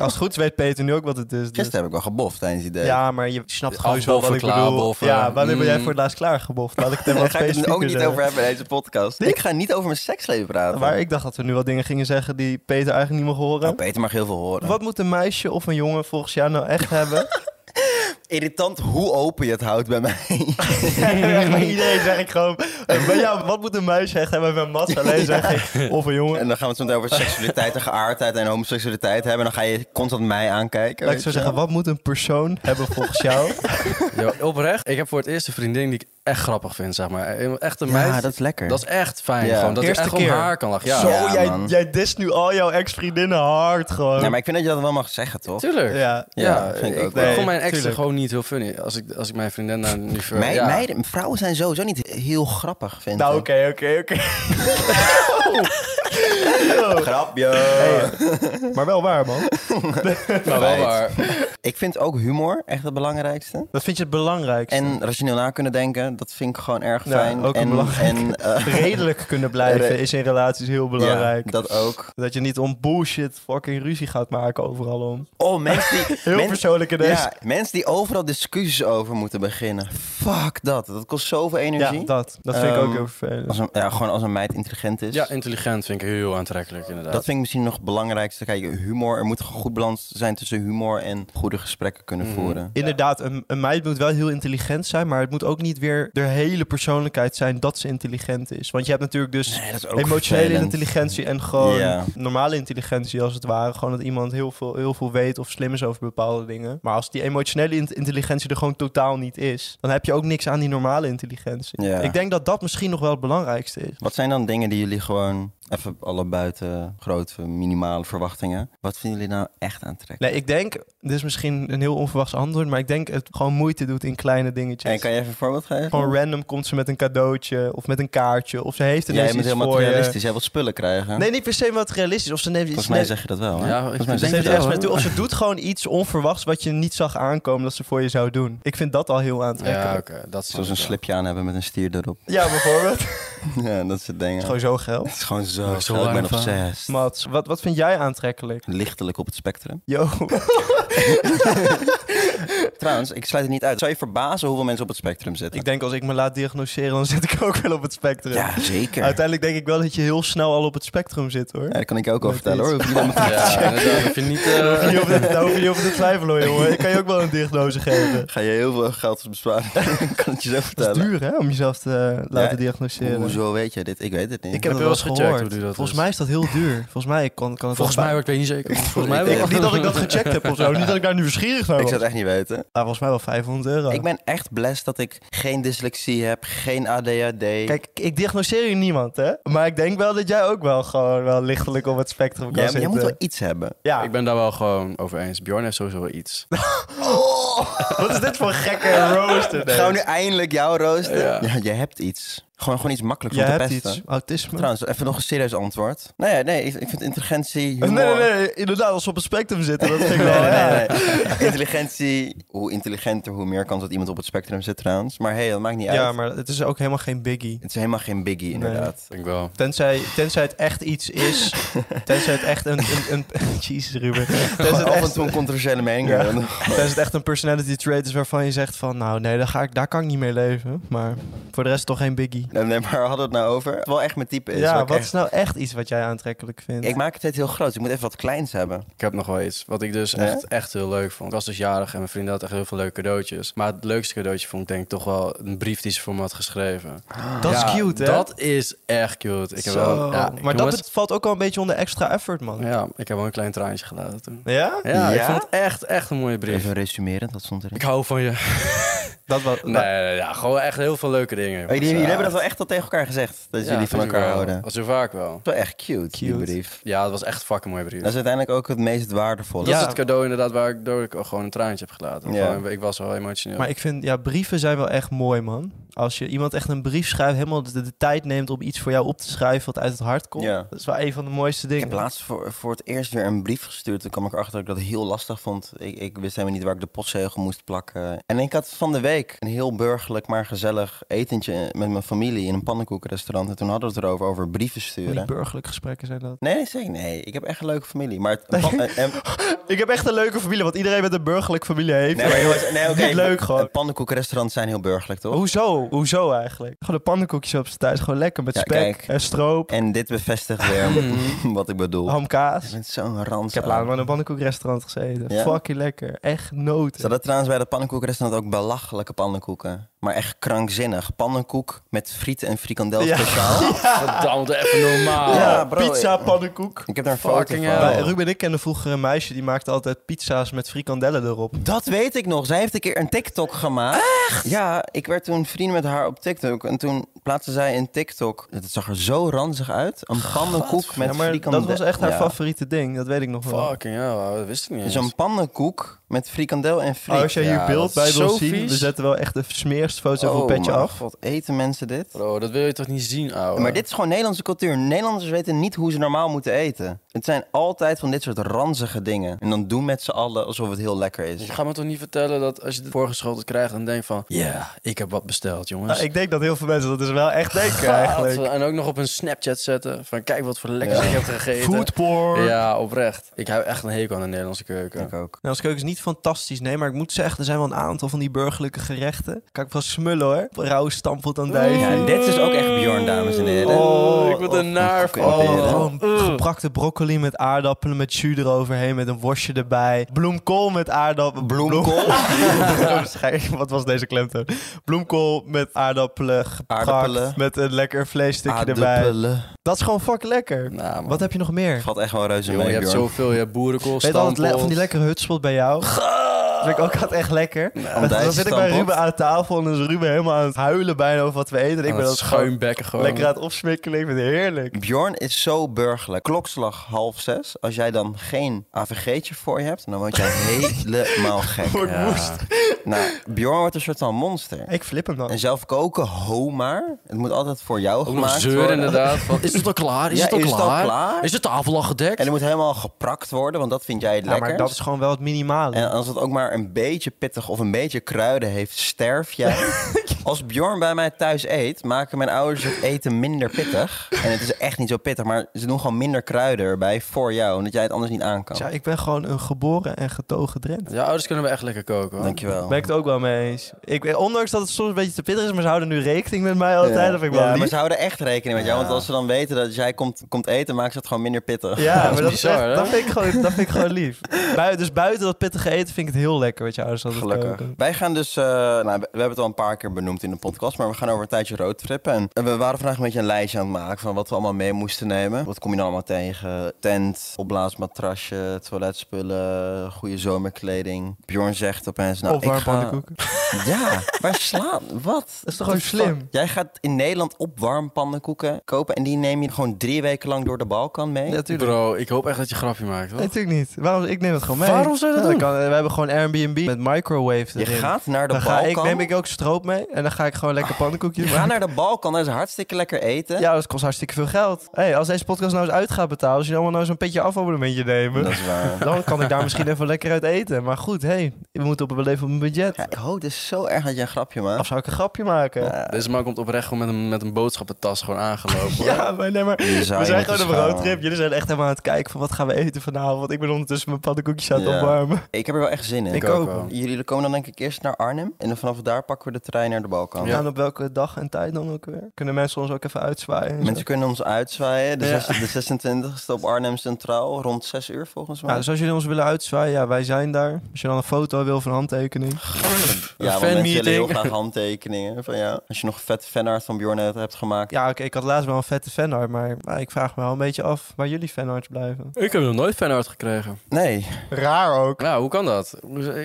Speaker 1: Als het goed is weet Peter nu ook wat het is. dus-
Speaker 3: Gisteren Oh, heb ik wel geboft tijdens die date.
Speaker 1: Ja, maar je snapt gewoon zo wat ik
Speaker 2: Afboffen,
Speaker 1: bedoel.
Speaker 2: klaarboffen.
Speaker 1: Ja, wanneer ben jij
Speaker 2: Mm.
Speaker 1: voor het laatst klaargeboft? Laat ik het hem
Speaker 3: Daar
Speaker 1: wat
Speaker 3: ga ik het
Speaker 1: specifieker
Speaker 3: ook niet
Speaker 1: zeggen.
Speaker 3: over hebben in deze podcast. Ik ga niet over mijn seksleven praten.
Speaker 1: Maar ik dacht dat we nu wat dingen gingen zeggen die Peter eigenlijk niet mag horen.
Speaker 3: Nou, Peter mag heel veel horen.
Speaker 1: Wat moet een meisje of een jongen volgens jou nou echt hebben?
Speaker 3: Irritant hoe open je het houdt bij mij.
Speaker 1: Bij iedereen zeg ik gewoon... eh, Bij jou, wat moet een meisje echt hebben? Bij Mats alleen zeg ik... Of een jongen.
Speaker 3: en dan gaan we het zo meteen over seksualiteit en geaardheid en homoseksualiteit hebben. En dan ga je constant mij aankijken.
Speaker 1: Laat ik
Speaker 3: weet
Speaker 1: zo
Speaker 3: je
Speaker 1: zeggen,
Speaker 3: wel.
Speaker 1: wat moet een persoon hebben volgens jou?
Speaker 2: Yo, oprecht. Ik heb voor het eerst een vriendin die ik echt grappig vind, zeg maar. Echt een meid.
Speaker 3: Ja, dat is lekker.
Speaker 2: Dat is echt fijn.
Speaker 3: Ja.
Speaker 2: Gewoon, dat je
Speaker 1: Eerste
Speaker 2: echt om
Speaker 1: keer.
Speaker 2: haar kan lachen. Ja,
Speaker 1: Zo,
Speaker 3: Ja,
Speaker 1: jij,
Speaker 3: man.
Speaker 1: jij dist nu al jouw ex-vriendinnen hard gewoon.
Speaker 3: Nee, maar ik vind dat je dat wel mag zeggen, toch?
Speaker 2: tuurlijk. Ja.
Speaker 1: Ja.
Speaker 3: Ja, vind ik ook wel.
Speaker 2: vond mijn ex
Speaker 1: Tuurlijk.
Speaker 2: gewoon niet heel funny. Als ik, als ik mijn vriendin nou nu ver...
Speaker 3: Mij,
Speaker 2: ja.
Speaker 3: meiden- vrouwen zijn sowieso niet heel grappig, vind
Speaker 1: Nou,
Speaker 3: ik.
Speaker 1: oké, oké, oké.
Speaker 3: Grapje.
Speaker 1: Maar wel waar, man.
Speaker 2: Maar wel waar.
Speaker 3: Ik vind ook humor echt het belangrijkste.
Speaker 1: Dat vind je het belangrijkste.
Speaker 3: En rationeel na kunnen denken, dat vind ik gewoon erg
Speaker 1: Ja,
Speaker 3: fijn.
Speaker 1: ook een
Speaker 3: en,
Speaker 1: belangrijk-
Speaker 3: en, eh,
Speaker 1: redelijk kunnen blijven
Speaker 3: Re-
Speaker 1: is in relaties heel belangrijk.
Speaker 3: Ja, dat ook.
Speaker 1: Dat je niet om bullshit fucking ruzie gaat maken overal om.
Speaker 3: Oh, mensen die...
Speaker 1: Heel
Speaker 3: men-
Speaker 1: persoonlijk in deze.
Speaker 3: Ja, mensen die overal discussies over moeten beginnen. Fuck dat. Dat kost zoveel
Speaker 1: Ja,
Speaker 3: energie.
Speaker 1: dat. Dat vind ik ook
Speaker 3: Ehm,
Speaker 1: heel vervelend.
Speaker 3: Als een, ja, gewoon als een meid intelligent is.
Speaker 2: Ja, intelligent vind ik heel aantrekkelijk, inderdaad.
Speaker 3: dat vind ik misschien nog het belangrijkste. Kijk, humor. Er moet gewoon goed balans zijn tussen humor en goede gesprekken kunnen
Speaker 1: Mm.
Speaker 2: Mhm.
Speaker 3: voeren.
Speaker 1: Inderdaad, een, een meid moet wel heel intelligent zijn, maar het moet ook niet weer de hele persoonlijkheid zijn dat ze intelligent is. Want je hebt natuurlijk dus
Speaker 3: Nee, dat is
Speaker 1: emotionele
Speaker 3: vervelend.
Speaker 1: intelligentie en gewoon
Speaker 3: Ja.
Speaker 1: normale intelligentie als het ware. Gewoon dat iemand heel veel, heel veel weet of slim is over bepaalde dingen. Maar als die emotionele int- intelligentie er gewoon totaal niet is, dan heb je ook niks aan die normale intelligentie.
Speaker 3: Ja.
Speaker 1: Ik denk dat dat misschien nog wel het belangrijkste is.
Speaker 3: Wat zijn dan dingen die jullie gewoon, even alle buiten grote minimale verwachtingen. Wat vinden jullie nou echt aantrekkelijk?
Speaker 1: Nee, ik denk, dit is misschien een heel onverwachts antwoord, maar ik denk het gewoon moeite doet in kleine dingetjes.
Speaker 3: En kan je even een voorbeeld geven?
Speaker 1: Gewoon random komt ze met een cadeautje of met een kaartje of ze heeft
Speaker 3: Jij
Speaker 1: ineens
Speaker 3: bent
Speaker 1: iets
Speaker 3: helemaal
Speaker 1: voor je.
Speaker 3: realistisch. Jij wilt spullen krijgen.
Speaker 1: Nee, niet per se wat realistisch. Of ze neemt iets,
Speaker 3: Volgens mij
Speaker 1: neemt-
Speaker 3: zeg je dat wel. Hè?
Speaker 2: Ja, ik
Speaker 3: Volgens mij
Speaker 2: denk
Speaker 3: zeg
Speaker 1: ze
Speaker 3: je
Speaker 1: neemt
Speaker 2: het
Speaker 1: er
Speaker 3: dat
Speaker 1: ergens
Speaker 2: wel,
Speaker 1: mee toe. Of ze doet gewoon iets onverwachts wat je niet zag aankomen dat ze voor je zou doen. Ik vind dat al heel
Speaker 2: Ja,
Speaker 1: aantrekkelijk.
Speaker 2: oké. dat snap
Speaker 3: Zoals
Speaker 2: ik
Speaker 3: een
Speaker 2: wel.
Speaker 3: slipje aan hebben met een stier erop.
Speaker 1: Ja, bijvoorbeeld. Het
Speaker 3: Ja, dat soort dingen.
Speaker 1: is gewoon zo geld.
Speaker 3: Het is gewoon zo.
Speaker 2: Zo
Speaker 3: ik ben
Speaker 2: warm van.
Speaker 3: obsessed.
Speaker 1: Mats, wat, wat vind jij aantrekkelijk?
Speaker 3: Lichtelijk op het spectrum.
Speaker 1: Yo.
Speaker 3: Trouwens, ik sluit het niet uit. Zou je verbazen hoeveel mensen op het spectrum zitten?
Speaker 1: ik denk als ik me laat diagnoseren, dan zit ik ook wel op het spectrum.
Speaker 3: Ja, zeker.
Speaker 1: Uiteindelijk denk ik wel dat je heel snel al op het spectrum zit hoor.
Speaker 3: Ja, dat kan ik jou ook over
Speaker 1: Met
Speaker 3: vertellen
Speaker 1: iets.
Speaker 3: hoor. Hoef je niet allemaal te-
Speaker 2: Ja, inderdaad. Ik vind niet... eh,
Speaker 1: Daar hoef je niet over te- daar hoef je niet over te twijfelen hoor, jongen. Ik kan je ook wel een diagnose geven.
Speaker 3: Ga je heel veel geld besparen? Ik kan het je zo
Speaker 1: Dat is
Speaker 3: vertellen.
Speaker 1: duur hè, om jezelf te eh, laten diagnoseren.
Speaker 3: Hoezo weet je dit? Ik weet het niet.
Speaker 1: Ik
Speaker 2: heb
Speaker 1: heb
Speaker 2: het
Speaker 1: het
Speaker 2: wel
Speaker 1: wel
Speaker 2: eens
Speaker 1: eens
Speaker 2: gecheckt hoe
Speaker 1: gehoord.
Speaker 2: duur dat
Speaker 1: Volgens
Speaker 2: is.
Speaker 1: mij is dat heel duur. Volgens mij kan, kan het
Speaker 2: Volgens
Speaker 1: wel-
Speaker 2: mij, ik weet niet zeker. Volgens mij
Speaker 1: Ik
Speaker 2: wel.
Speaker 1: denk niet dat ik dat gecheckt heb of zo. Niet dat ik daar nu nieuwsgierig naar
Speaker 3: Ik
Speaker 1: was.
Speaker 3: zou het echt niet weten.
Speaker 1: Maar volgens mij wel 500 euro.
Speaker 3: Ik ben echt blessed dat ik geen dyslexie heb, geen ADHD.
Speaker 1: Kijk, ik diagnoseer hier niemand, hè? Maar ik denk wel dat jij ook wel gewoon wel lichtelijk op het spectrum kan
Speaker 3: jij, jij
Speaker 1: zitten.
Speaker 3: moet wel iets hebben.
Speaker 1: Ja.
Speaker 2: Ik ben daar wel gewoon over eens. Bjorn heeft sowieso wel iets.
Speaker 1: Wat is dit voor gekke rooster? nee?
Speaker 3: Gaan we nu eindelijk jou roosten?
Speaker 2: Ja.
Speaker 3: Ja. jij hebt iets. Gewoon, gewoon iets makkelijks
Speaker 1: Jij
Speaker 3: om te
Speaker 1: hebt
Speaker 3: pesten.
Speaker 1: iets. Autisme?
Speaker 3: Trouwens, even nog een serieus antwoord. Nee, ja, nee, ik, ik vind intelligentie, humor...
Speaker 1: nee, nee, nee. Inderdaad, als we op het spectrum zitten, dat vind ik wel...
Speaker 3: Nee,
Speaker 1: ja.
Speaker 3: nee, nee. Intelligentie, hoe intelligenter, hoe meer kans dat iemand op het spectrum zit trouwens. Maar hey, dat maakt niet
Speaker 1: Ja,
Speaker 3: uit.
Speaker 1: maar het is ook helemaal geen biggie.
Speaker 3: Het is helemaal geen biggie, inderdaad.
Speaker 2: Denk wel.
Speaker 1: Tenzij, tenzij het echt iets is. Tenzij het echt een. een, een Jezus, Ruben. Tenzij
Speaker 3: Gewoon
Speaker 1: het,
Speaker 3: af en
Speaker 1: echt,
Speaker 3: toe een controversiële mening.
Speaker 1: Ja.
Speaker 3: hebben.
Speaker 1: tenzij het echt een personality trait is waarvan je zegt van. Nou, nee, daar, ga ik, daar kan ik niet mee leven. Maar voor de rest toch geen biggie.
Speaker 3: Nee, nee, maar hadden we het nou over? Wat wel echt mijn type is.
Speaker 1: ja,
Speaker 3: waar
Speaker 1: wat
Speaker 3: ik, echt-
Speaker 1: is nou echt iets wat jij aantrekkelijk vindt?
Speaker 3: ik maak het steeds heel groot. Ik moet even wat kleins hebben.
Speaker 2: Ik heb nog wel iets wat ik dus
Speaker 3: Ja?
Speaker 2: echt, echt heel leuk vond. Ik was dus jarig en mijn vriendin had echt heel veel leuke cadeautjes. Maar het leukste cadeautje vond ik denk ik toch wel een brief die ze voor me had geschreven.
Speaker 1: dat is
Speaker 2: Ah, Ja,
Speaker 1: cute, hè?
Speaker 2: Dat is echt cute. Ik heb
Speaker 1: Zo.
Speaker 2: wel, ja,
Speaker 1: maar dat
Speaker 2: jongens,
Speaker 1: het valt ook al een beetje onder extra effort, man. Ja?
Speaker 2: Ja, ik heb wel een klein traantje gelaten toen.
Speaker 1: ja?
Speaker 2: Ja, ik
Speaker 3: Ja?
Speaker 2: vond het echt, echt een mooie brief.
Speaker 3: Even resumerend, wat stond erin?
Speaker 2: Ik hou van je.
Speaker 1: Dat was,
Speaker 2: Nee, nee, ja, gewoon echt heel veel leuke dingen.
Speaker 3: Oh, jullie,
Speaker 2: Ja.
Speaker 3: jullie hebben dat wel echt al tegen elkaar gezegd. Dat
Speaker 2: Ja,
Speaker 3: jullie van
Speaker 2: natuurlijk
Speaker 3: elkaar
Speaker 2: wel.
Speaker 3: houden. Dat
Speaker 2: Dat is heel vaak wel.
Speaker 3: is wel echt cute, die
Speaker 1: Cute.
Speaker 3: brief.
Speaker 2: Ja, het was echt een fucking mooie brief.
Speaker 3: Dat is uiteindelijk ook het meest waardevolle.
Speaker 2: Dat is
Speaker 1: Ja.
Speaker 2: het cadeau inderdaad waar ik door ik ook gewoon een traantje heb gelaten.
Speaker 3: Ja.
Speaker 2: Gewoon, ik was wel emotioneel.
Speaker 1: Maar ik vind, ja, brieven zijn wel echt mooi, man. Als je iemand echt een brief schrijft, helemaal de, de tijd neemt om iets voor jou op te schrijven wat uit het hart komt.
Speaker 3: Ja.
Speaker 1: Dat is wel een van de mooiste
Speaker 3: Ik
Speaker 1: dingen.
Speaker 3: heb laatst voor, voor het eerst weer een brief gestuurd. Toen kwam ik erachter dat ik dat heel lastig vond. Ik, ik wist helemaal niet waar ik de postzegel moest plakken. En ik had van de week een heel burgerlijk, maar gezellig etentje met mijn familie in een pannenkoekenrestaurant. En toen hadden we het erover, over brieven
Speaker 1: Van die
Speaker 3: sturen.
Speaker 1: burgerlijke gesprekken zijn dat.
Speaker 3: Nee, zeker nee. Ik heb echt een leuke familie. Maar het, eh, pan- en-
Speaker 1: Ik heb echt een leuke familie, want iedereen met een burgerlijke familie heeft.
Speaker 3: nee, maar jongens, nee, oké.
Speaker 1: Niet leuk
Speaker 3: En
Speaker 1: gewoon.
Speaker 3: pannenkoekenrestaurants zijn heel burgerlijk, toch?
Speaker 1: Hoezo? Hoezo eigenlijk? Gewoon de pannenkoekjes op zijn thuis, gewoon lekker met
Speaker 3: Ja,
Speaker 1: spek
Speaker 3: kijk.
Speaker 1: en stroop,
Speaker 3: En dit bevestigt weer wat ik bedoel. Ik
Speaker 1: hamkaas.
Speaker 3: ben zo'n rans.
Speaker 1: Mm-hmm. Oh, Ik heb laatst maar in een pannenkoekrestaurant gezeten.
Speaker 3: Ja?
Speaker 1: Fucking lekker. Echt
Speaker 3: Ze
Speaker 1: noten.
Speaker 3: hadden trouwens bij de pannenkoekrestaurant ook belachelijke pannenkoeken. Maar echt krankzinnig. Pannenkoek met friet en frikandel
Speaker 1: Ja.
Speaker 3: speciaal.
Speaker 2: Verdammd, even normaal.
Speaker 3: Ja, bro,
Speaker 1: Pizza,
Speaker 3: ik-
Speaker 1: pannenkoek.
Speaker 3: Ik heb daar een foto
Speaker 2: Fucking hell.
Speaker 3: van.
Speaker 1: Wij- Ruben en ik kenden vroeger een meisje die maakte altijd pizza's met frikandellen erop.
Speaker 3: Dat weet ik nog. Zij heeft een keer een TikTok gemaakt. Echt? Ja, ik werd toen vriend met haar op TikTok. En toen plaatste zij een TikTok. Het zag er zo ranzig uit. Een pannenkoek met
Speaker 1: Ja, maar
Speaker 3: frikandel.
Speaker 1: dat was echt haar
Speaker 3: Ja.
Speaker 1: favoriete ding, dat weet ik nog wel.
Speaker 2: Fucking ja, dat wist ik niet
Speaker 3: Dus
Speaker 2: eens.
Speaker 3: een pannenkoek met frikandel en friet.
Speaker 1: Oh, als jij hier
Speaker 2: Ja,
Speaker 1: beeld
Speaker 2: dat
Speaker 1: bij
Speaker 2: is
Speaker 1: wil
Speaker 2: zo
Speaker 1: zien,
Speaker 2: vies.
Speaker 1: we zetten wel echt de smeerste foto
Speaker 3: Oh
Speaker 1: van petje
Speaker 3: mijn
Speaker 1: af.
Speaker 3: god, eten mensen dit?
Speaker 2: Bro, dat wil je toch niet zien, ouwe?
Speaker 3: Maar dit is gewoon Nederlandse cultuur. Nederlanders weten niet hoe ze normaal moeten eten. Het zijn altijd van dit soort ranzige dingen. En dan doen met z'n allen alsof het heel lekker is.
Speaker 2: Je gaat me toch niet vertellen dat als je dit voorgeschoteld krijgt... en denkt van, ja, ik heb wat besteld, jongens.
Speaker 1: Nou, ik denk dat heel veel mensen dat dus wel echt denken eigenlijk.
Speaker 2: En ook nog op een Snapchat zetten van, kijk wat voor lekkers ik heb gegeten.
Speaker 1: Foodporn.
Speaker 2: Ja, oprecht. Ik heb echt een hekel aan de Nederlandse keuken.
Speaker 3: Ik ook.
Speaker 1: Nou, als keuken is niet fantastisch, nee, maar ik moet zeggen, er zijn wel een aantal van die burgerlijke gerechten. Kan ik wel smullen hoor. Rauw stampot aan dijk.
Speaker 3: Ja, en dit is ook echt Bjorn, dames en heren.
Speaker 2: Oh, ik word er naar van.
Speaker 3: Oh,
Speaker 1: Oh,
Speaker 3: Peren.
Speaker 1: gewoon geprakte broccoli met aardappelen, met jus eroverheen, met een worstje erbij. Bloemkool met aardappelen.
Speaker 3: Bloemkool?
Speaker 1: Waarschijnlijk- Wat was deze klemtoon? Bloemkool met aardappelen, geprakt
Speaker 3: Aardappelen.
Speaker 1: met een lekker vleesstukje erbij.
Speaker 3: Aardappelen.
Speaker 1: Dat is gewoon fucking lekker.
Speaker 2: Nou, man.
Speaker 1: Wat heb je nog meer?
Speaker 3: Valt echt wel reuze
Speaker 2: Jongen,
Speaker 3: mee,
Speaker 2: je hebt
Speaker 3: Bjorn.
Speaker 2: zoveel. Je hebt boerenkool,
Speaker 1: Weet al het le-
Speaker 2: stamppot.
Speaker 1: van die lekkere hutspot bij jou? Dat vind ik ook altijd echt lekker. Maar dan zit ik bij
Speaker 3: ontbijtstampot.
Speaker 1: Ruben aan tafel en dan is Ruben helemaal aan het huilen bijna over wat we eten. En ik
Speaker 2: Aan
Speaker 1: ben
Speaker 2: het
Speaker 1: dat gewoon
Speaker 2: schuimbekken gewoon.
Speaker 1: lekker
Speaker 3: Oh.
Speaker 1: aan het opsmikkelen. Ik vind het heerlijk.
Speaker 3: Bjorn is zo burgerlijk. Klokslag half zes. Als jij dan geen AVG'tje voor je hebt, dan word jij helemaal gek.
Speaker 1: Wordt
Speaker 2: Ja.
Speaker 1: woest.
Speaker 3: Nou, Bjorn wordt een soort van monster.
Speaker 1: Ik flip hem dan.
Speaker 3: En zelf koken, ho maar. Het moet altijd voor jou
Speaker 2: Ook nog
Speaker 3: gemaakt
Speaker 2: zeur
Speaker 3: worden.
Speaker 2: inderdaad. Van, is het al klaar? Is
Speaker 3: Ja,
Speaker 2: het al
Speaker 3: is het al
Speaker 2: klaar?
Speaker 3: klaar?
Speaker 2: Is de tafel al gedekt?
Speaker 3: En het moet helemaal geprakt worden, want dat vind jij het
Speaker 1: Ja,
Speaker 3: lekker.
Speaker 1: maar dat is gewoon wel het minimale.
Speaker 3: En als het ook maar een beetje pittig of een beetje kruiden heeft, sterf jij. Als Bjorn bij mij thuis eet, maken mijn ouders het eten minder pittig. En het is echt niet zo pittig, maar ze doen gewoon minder kruiden erbij voor jou, omdat jij het anders niet aan kan.
Speaker 1: Ja, ik ben gewoon een geboren en getogen Drent.
Speaker 2: Ja, ouders kunnen we echt lekker koken. Hoor.
Speaker 3: Dankjewel.
Speaker 1: Ben ik het ook wel mee eens. Ik, weet- ondanks dat het soms een beetje te pittig is, maar ze houden nu rekening met mij altijd. Dat vind ik wel
Speaker 3: Ja,
Speaker 1: lief.
Speaker 3: maar ze houden echt rekening met jou, want als ze dan weten dat jij komt, komt eten, maken ze het gewoon minder pittig.
Speaker 1: Ja, maar dat, is
Speaker 2: bizar,
Speaker 1: echt-
Speaker 2: hè?
Speaker 1: dat, vind ik gewoon, dat vind ik gewoon lief. Bui- dus buiten dat pittige eten vind ik het heel lekker wat je ouders altijd
Speaker 3: Gelukkig.
Speaker 1: koken.
Speaker 3: Wij gaan dus, eh, nou, we we hebben het al een paar keer benoemd in de podcast, maar we gaan over een tijdje roadtrippen. En we waren vandaag een beetje een lijstje aan het maken van wat we allemaal mee moesten nemen. Wat kom je nou allemaal tegen? Tent, opblaasmatrasje, toiletspullen, goede zomerkleding. Bjorn zegt opeens, nou
Speaker 1: of
Speaker 3: ik
Speaker 1: warm
Speaker 3: ga...
Speaker 1: pannenkoeken. Dat
Speaker 3: Ja, waar slaan? Wat?
Speaker 1: is toch gewoon slim?
Speaker 3: Jij gaat in Nederland op warm pannenkoeken kopen en die neem je gewoon drie weken lang door de Balkan mee.
Speaker 1: Ja, tuurlijk.
Speaker 2: Bro, ik hoop echt dat je een grapje maakt. hoor.
Speaker 1: Nee, natuurlijk niet. Waarom, ik neem dat gewoon mee.
Speaker 2: Waarom zou je dat
Speaker 1: Ja,
Speaker 2: doen?
Speaker 1: Kan, we hebben gewoon Airbnb met microwave
Speaker 3: Je
Speaker 1: erin.
Speaker 3: gaat naar de
Speaker 1: dan ga
Speaker 3: Balkan. Oh.
Speaker 1: ik, neem ik ook stroop mee en dan ga ik gewoon lekker pannenkoekjes
Speaker 3: Je
Speaker 1: maken.
Speaker 3: gaat naar de Balkan, dat is hartstikke lekker eten.
Speaker 1: Ja, dat kost hartstikke veel geld. Hey, als deze podcast nou eens uit gaat betalen, als jullie allemaal nou zo'n petje afabonnementje nemen,
Speaker 3: Dat is waar.
Speaker 1: dan kan ik daar misschien even lekker uit eten. Maar goed, hey, we moeten op, we leven op een budget.
Speaker 3: Ja, ik hoop dus zo erg dat je een grapje maakt.
Speaker 1: Of zou ik een grapje maken? Ja,
Speaker 2: Deze man komt oprecht gewoon met een, met een boodschappentas gewoon aangelopen. hoor.
Speaker 1: maar nee, maar
Speaker 3: Je zou
Speaker 1: we
Speaker 3: je
Speaker 1: zijn gewoon
Speaker 3: moeten
Speaker 1: op een
Speaker 3: schamen.
Speaker 1: roadtrip. Jullie zijn echt helemaal aan het kijken van wat gaan we eten vanavond. Want ik ben ondertussen mijn pannenkoekjes aan het
Speaker 3: Ja.
Speaker 1: opwarmen.
Speaker 3: Ik heb er wel echt zin in.
Speaker 1: Ik
Speaker 2: ook
Speaker 1: ook.
Speaker 2: wel.
Speaker 3: Jullie komen dan denk ik eerst naar Arnhem. En dan vanaf daar pakken we de trein naar wanneer de bal kan.
Speaker 1: En op welke dag en tijd dan ook weer? Kunnen mensen ons ook even uitzwaaien? en zo?
Speaker 3: Mensen kunnen ons uitzwaaien. De,
Speaker 1: Ja.
Speaker 3: zes- de 26e op Arnhem Centraal, rond 6 uur volgens mij.
Speaker 1: Ja, dus als jullie ons willen uitzwaaien, ja, wij zijn daar. Als je dan een foto wil van handtekening.
Speaker 3: Ja, want mensen
Speaker 2: fanmeeting.
Speaker 3: willen heel graag handtekeningen van jou. Als je nog een vette fanart van Bjorn hebt- hebt gemaakt.
Speaker 1: Ja, oké, ik had laatst wel een vette fanart, maar maar ik vraag me wel een beetje af waar jullie fanarts blijven.
Speaker 2: Ik heb nog nooit fanart gekregen.
Speaker 3: Nee,
Speaker 1: Raar ook.
Speaker 2: Nou, hoe kan dat?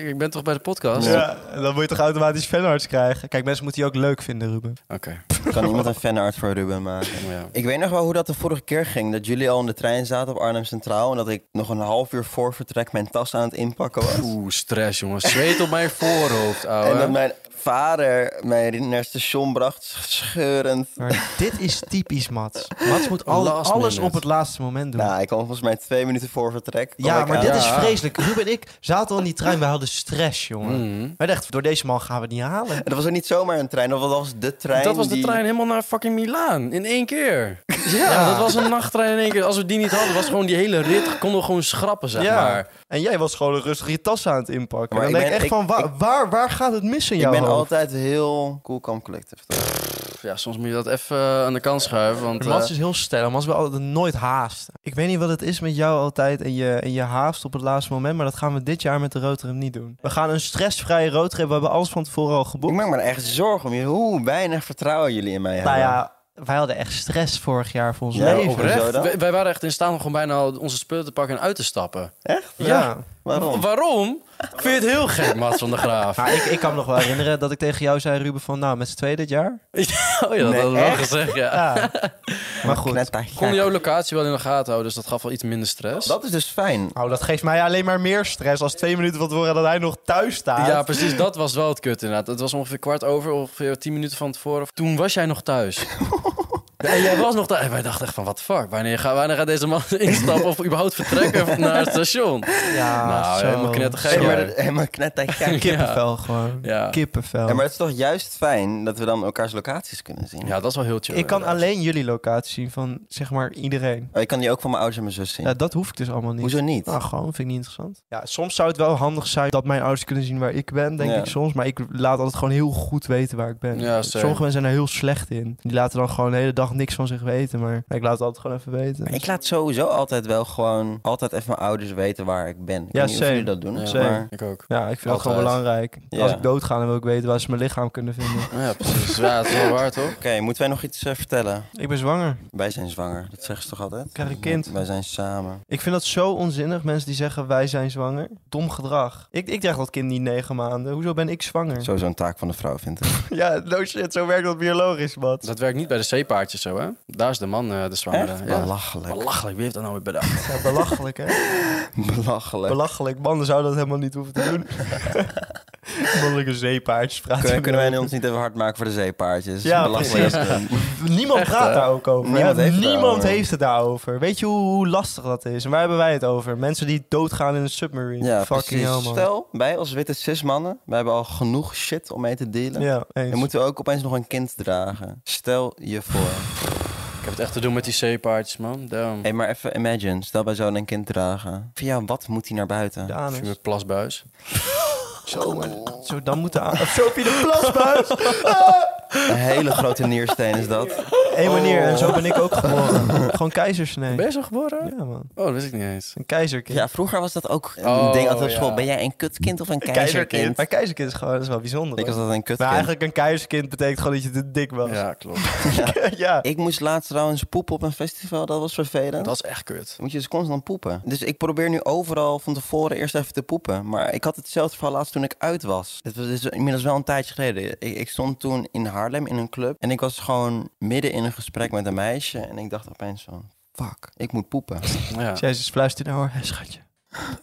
Speaker 2: Ik ben toch bij de podcast?
Speaker 1: Ja, dan moet je toch automatisch fanarts krijgen? Kijk, mensen moeten die ook leuk vinden, Ruben.
Speaker 2: Oké.
Speaker 3: kan iemand een fanart voor Ruben maken?
Speaker 2: Ja.
Speaker 3: Ik weet nog wel hoe dat de vorige keer ging. Dat jullie al in de trein zaten op Arnhem Centraal. En dat ik nog een half uur voor vertrek mijn tas aan het inpakken was.
Speaker 2: Oeh, stress, jongen. Zweet op mijn voorhoofd,
Speaker 3: en dat
Speaker 2: ouwe.
Speaker 3: mijn vader mij naar het station bracht, scheurend.
Speaker 1: Maar dit is typisch Mats. Mats moet al-
Speaker 2: Last
Speaker 1: alles
Speaker 2: minute.
Speaker 1: op het laatste moment doen.
Speaker 3: Nou, ik kwam volgens mij twee minuten voor vertrek. kwam
Speaker 1: ja,
Speaker 3: ik
Speaker 1: maar
Speaker 3: aan.
Speaker 1: dit is
Speaker 2: ja.
Speaker 1: vreselijk. Ruben en ik zaten al in die trein, we hadden stress, jongen.
Speaker 2: Mm.
Speaker 1: Wij dachten, door deze man gaan we het niet halen.
Speaker 3: En dat was ook niet zomaar een trein, dat was- dat was de trein.
Speaker 2: Dat was de
Speaker 3: die-
Speaker 2: trein helemaal naar fucking Milaan. In één keer. Ja. dat was een nachttrein in één keer. Als we die niet hadden, was gewoon die hele rit. Konden we gewoon schrappen, zeg
Speaker 1: Ja.
Speaker 2: maar.
Speaker 1: En jij was gewoon rustig je tas aan het inpakken.
Speaker 3: Maar
Speaker 1: dan
Speaker 3: ik
Speaker 1: denk ik
Speaker 3: ben-
Speaker 1: echt
Speaker 3: ik-
Speaker 1: van, wa-
Speaker 3: ik-
Speaker 1: waar, waar gaat het mis in
Speaker 3: Ik
Speaker 1: jouw
Speaker 3: ben
Speaker 1: hoofd?
Speaker 3: altijd heel cool, calm, collective.
Speaker 2: Pff, Ja, soms moet je dat even eh, aan de kant schuiven. Want, eh,
Speaker 1: Mats is dus heel stijl, Mats wil altijd nooit haast. Ik weet niet wat het is met jou altijd en je, en je haast op het laatste moment, maar dat gaan we dit jaar met de roadtrip niet doen. We gaan een stressvrije roadtrip, we hebben alles van tevoren al
Speaker 3: Ik
Speaker 1: geboekt.
Speaker 3: maak me er echt zorgen om je. Hoe weinig vertrouwen jullie in mij
Speaker 1: Nou
Speaker 3: hebben.
Speaker 1: ja, wij hadden echt stress vorig jaar voor ons
Speaker 3: Ja,
Speaker 1: leven.
Speaker 3: oprecht. Hoezo
Speaker 2: Oprecht,
Speaker 3: dan?
Speaker 2: wij, wij waren echt in staat om gewoon bijna al onze spullen te pakken en uit te stappen.
Speaker 3: Echt?
Speaker 1: ja.
Speaker 3: Waarom?
Speaker 2: Waarom? Ik vind het heel gek, Mats van der Graaf.
Speaker 1: Maar ik, ik kan me nog wel herinneren dat ik tegen jou zei, Ruben, van nou, met z'n tweeën dit jaar.
Speaker 2: Oh ja, dat
Speaker 3: Nee,
Speaker 2: hadden we wel
Speaker 3: echt?
Speaker 2: gezegd, ja.
Speaker 1: Ja. maar goed.
Speaker 3: Knettergek.
Speaker 2: Kon jouw locatie wel in de gaten houden, dus dat gaf wel iets minder stress.
Speaker 3: Dat is dus fijn.
Speaker 1: Nou, dat geeft mij alleen maar meer stress als twee minuten van tevoren dat hij nog thuis staat.
Speaker 2: Ja, precies. Dat was wel het kut inderdaad. Het was ongeveer kwart over, ongeveer tien minuten van tevoren. Toen was jij nog thuis. Ja, en jij was nog thuis. En wij dachten echt van, wat fuck? Wanneer, ga, wanneer gaat deze man instappen of überhaupt vertrekken naar het station?
Speaker 1: Ja,
Speaker 2: Nou,
Speaker 1: zo.
Speaker 2: helemaal knettergek.
Speaker 1: Zo.
Speaker 3: Hey, maar
Speaker 2: ja.
Speaker 3: dat- hey, maar knettergek.
Speaker 1: Kippenvel gewoon.
Speaker 2: Ja.
Speaker 1: Kippenvel.
Speaker 3: Ja, maar het is toch juist fijn dat we dan elkaars locaties kunnen zien.
Speaker 2: Ja, dat is wel heel chill.
Speaker 1: ik kan
Speaker 2: inderdaad.
Speaker 1: alleen jullie locatie zien van, zeg maar, iedereen.
Speaker 3: Oh, ik kan die ook van mijn ouders en mijn zus zien.
Speaker 1: Ja, dat hoef ik dus allemaal niet.
Speaker 3: Hoezo niet?
Speaker 1: Nou, gewoon, vind ik niet interessant. Ja, soms zou het wel handig zijn dat mijn ouders kunnen zien waar ik ben, denk
Speaker 3: Ja.
Speaker 1: ik soms. Maar ik laat altijd gewoon heel goed weten waar ik ben.
Speaker 2: Ja, same.
Speaker 1: Sommige mensen zijn daar heel slecht in. Die laten dan gewoon de hele dag niks van zich weten. Maar ik laat het altijd gewoon even weten.
Speaker 3: Ik laat sowieso altijd wel gewoon... altijd even mijn ouders weten waar ik ben. Ik
Speaker 1: Ja,
Speaker 3: weet niet of jullie
Speaker 1: same.
Speaker 3: dat doen.
Speaker 2: Ja,
Speaker 1: same.
Speaker 3: maar-
Speaker 2: Ik ook.
Speaker 1: Ja, ik vind dat
Speaker 2: Altijd.
Speaker 1: gewoon belangrijk.
Speaker 3: Ja.
Speaker 1: Als ik doodga, dan wil ik weten waar ze mijn lichaam kunnen vinden.
Speaker 2: Ja, precies. Ja, het is wel waar, toch?
Speaker 3: Oké, moeten wij nog iets eh, vertellen?
Speaker 1: ik ben zwanger.
Speaker 3: Wij zijn zwanger. Dat zeggen ze toch altijd?
Speaker 1: krijg een kind.
Speaker 3: Wij zijn samen.
Speaker 1: Ik vind dat zo onzinnig, mensen die zeggen wij zijn zwanger. Dom gedrag. Ik, ik draag dat kind niet negen maanden. Hoezo ben ik zwanger?
Speaker 3: Sowieso een taak van de vrouw, vind ik.
Speaker 1: Ja, no shit, zo werkt dat biologisch, wat.
Speaker 2: Dat werkt niet bij de zeepaardjes zo, hè? Daar is de man eh, de zwangere.
Speaker 3: Echt?
Speaker 2: Ja.
Speaker 3: Belachelijk.
Speaker 2: Belachelijk, wie heeft dat nou weer bedacht?
Speaker 1: Ja, belachelijk, hè?
Speaker 3: Belachelijk.
Speaker 1: Belachelijk. Mannen zouden dat helemaal niet hoeven te doen. Mannelijke zeepaardjes praten.
Speaker 3: Kunnen, kunnen wij
Speaker 1: erover.
Speaker 3: ons niet even hard maken voor de zeepaardjes?
Speaker 1: Ja,
Speaker 3: Belachelijk.
Speaker 1: Niemand
Speaker 2: Echt,
Speaker 1: praat
Speaker 2: hè?
Speaker 1: daar ook over.
Speaker 3: Niemand
Speaker 1: Ja,
Speaker 3: heeft het
Speaker 1: niemand
Speaker 3: daarover.
Speaker 1: heeft het daarover. Weet je hoe, hoe lastig dat is? En waar hebben wij het over? Mensen die doodgaan in een submarine.
Speaker 3: Ja,
Speaker 1: Fucking
Speaker 3: precies.
Speaker 1: hell, man.
Speaker 3: Stel, wij als witte cis-mannen, wij hebben al genoeg shit om mee te dealen.
Speaker 1: Ja, eens.
Speaker 3: Dan moeten we ook opeens nog een kind dragen. Stel je voor.
Speaker 2: Ik heb het echt te doen met die zeepaardjes, man. Damn.
Speaker 3: Hé, maar even imagine. Stel wij zouden een kind dragen. Van ja, wat moet hij naar buiten?
Speaker 1: De
Speaker 2: Ik
Speaker 1: anus.
Speaker 2: vind mijn plasbuis.
Speaker 1: Zo, maar, zo dan moet de anus. Zo heb je de plasbuis.
Speaker 3: Een hele grote niersteen is dat.
Speaker 1: Eén manier, en zo ben ik ook geboren. Gewoon
Speaker 2: Ben
Speaker 1: keizersnee.
Speaker 2: je zo geboren?
Speaker 1: Ja, man.
Speaker 2: Oh, dat wist ik niet eens.
Speaker 1: Een keizerkind.
Speaker 3: Ja, vroeger was dat ook een
Speaker 2: Oh,
Speaker 3: ding altijd op
Speaker 2: ja.
Speaker 3: school. Ben jij een kutkind of een keizerkind?
Speaker 1: Maar keizerkind is gewoon, dat is wel bijzonder.
Speaker 3: Ik was
Speaker 1: hoor.
Speaker 3: dat een
Speaker 1: Maar
Speaker 3: kutkind.
Speaker 1: eigenlijk een keizerkind betekent gewoon dat je te dik was. Ja.
Speaker 2: Ja, klopt.
Speaker 3: Ik moest laatst trouwens poepen op een festival. Dat was vervelend.
Speaker 2: Dat is echt kut.
Speaker 3: Dan moet je dus constant poepen. Dus ik probeer nu overal van tevoren eerst even te poepen. Maar ik had hetzelfde verhaal laatst toen ik uit was. Het was dus inmiddels wel een tijdje geleden. Ik, ik stond toen in Haarlem in een club. En ik was gewoon midden in een gesprek met een meisje. En ik dacht opeens van, fuck, ik moet poepen.
Speaker 2: Ja.
Speaker 1: Jezus fluistert nou hoor, Hé, schatje.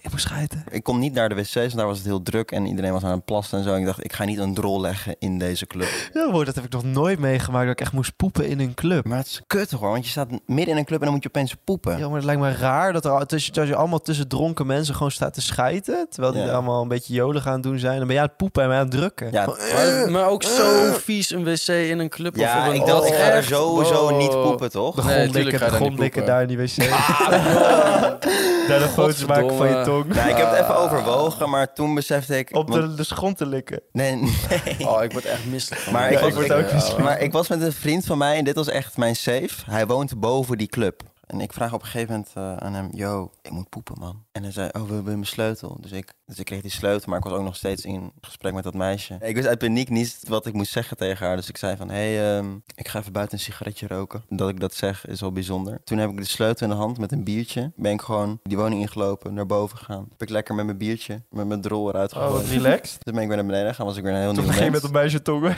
Speaker 1: Ik moet schijten.
Speaker 3: ik kom niet naar de wc's, want daar was het heel druk. En iedereen was aan het plassen en zo. En ik dacht, ik ga niet een drol leggen in deze club.
Speaker 1: Ja, hoor, dat heb ik nog nooit meegemaakt dat ik echt moest poepen in een club.
Speaker 3: Maar het is kut hoor, want je staat midden in een club en dan moet je opeens poepen.
Speaker 1: Ja, maar het lijkt me raar dat, er, al- tussen, dat je allemaal tussen dronken mensen gewoon staat te schijten. Terwijl die
Speaker 3: Ja.
Speaker 1: allemaal een beetje jolig aan het doen zijn. Dan ben jij aan het poepen en mij aan het drukken.
Speaker 3: Ja,
Speaker 2: Maar, maar ook zo vies een wc in een club. of
Speaker 3: ja
Speaker 2: een Oh,
Speaker 3: ik dacht, ik ga er
Speaker 2: echt?
Speaker 3: sowieso
Speaker 2: Wow.
Speaker 3: niet poepen,
Speaker 1: De
Speaker 3: toch?
Speaker 2: Nee,
Speaker 1: gronddikke,
Speaker 2: tuurlijk ga je
Speaker 1: de
Speaker 2: daar niet
Speaker 1: gronddikke
Speaker 2: poepen.
Speaker 1: daar in die wc. daar de foto's maken
Speaker 2: Godverdomme,
Speaker 1: van je
Speaker 2: eh,
Speaker 1: tong.
Speaker 3: Nou, ik heb het even overwogen, maar toen besefte ik...
Speaker 1: Op
Speaker 3: want-
Speaker 1: de, de grond te likken.
Speaker 3: Nee, nee.
Speaker 2: Oh, ik word echt misselijk. van.
Speaker 3: Maar,
Speaker 1: Ja,
Speaker 3: ik,
Speaker 1: ik
Speaker 3: was,
Speaker 1: word
Speaker 3: ik-
Speaker 1: ook misselijk.
Speaker 3: maar ik was met een vriend van mij en dit was echt mijn safe. Hij woont boven die club. En ik vraag op een gegeven moment eh, aan hem, yo, ik moet poepen, man. En hij zei, oh, we hebben mijn sleutel. Dus ik, dus ik kreeg die sleutel, maar ik was ook nog steeds in gesprek met dat meisje. Ik wist uit paniek niet wat ik moest zeggen tegen haar. Dus ik zei van, hé, hey, ehm, ik ga even buiten een sigaretje roken. Dat ik dat zeg is wel bijzonder. Toen heb ik de sleutel in de hand met een biertje. Ben ik gewoon die woning ingelopen, naar boven gegaan. Heb ik lekker met mijn biertje, met mijn drol eruit
Speaker 1: Oh,
Speaker 3: gegooid.
Speaker 1: wat relaxed.
Speaker 3: Toen ben ik weer naar beneden gegaan, was ik weer een heel
Speaker 1: Toen
Speaker 3: nieuw
Speaker 1: ging je
Speaker 3: mens.
Speaker 1: met een meisje tongen.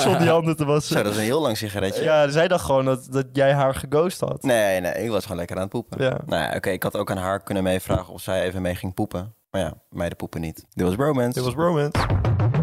Speaker 1: Zonder die handen te
Speaker 3: Zo,
Speaker 1: wassen.
Speaker 3: dat is een heel lang sigaretje.
Speaker 1: Ja, zij dacht gewoon dat, dat jij haar geghost had.
Speaker 3: Nee, nee, ik was gewoon lekker aan het poepen.
Speaker 1: Ja.
Speaker 3: Nou ja, oké, ik had ook aan haar kunnen meevragen of zij even mee ging poepen. Maar ja, meiden poepen niet. Dit was romance.
Speaker 1: Dit was romance.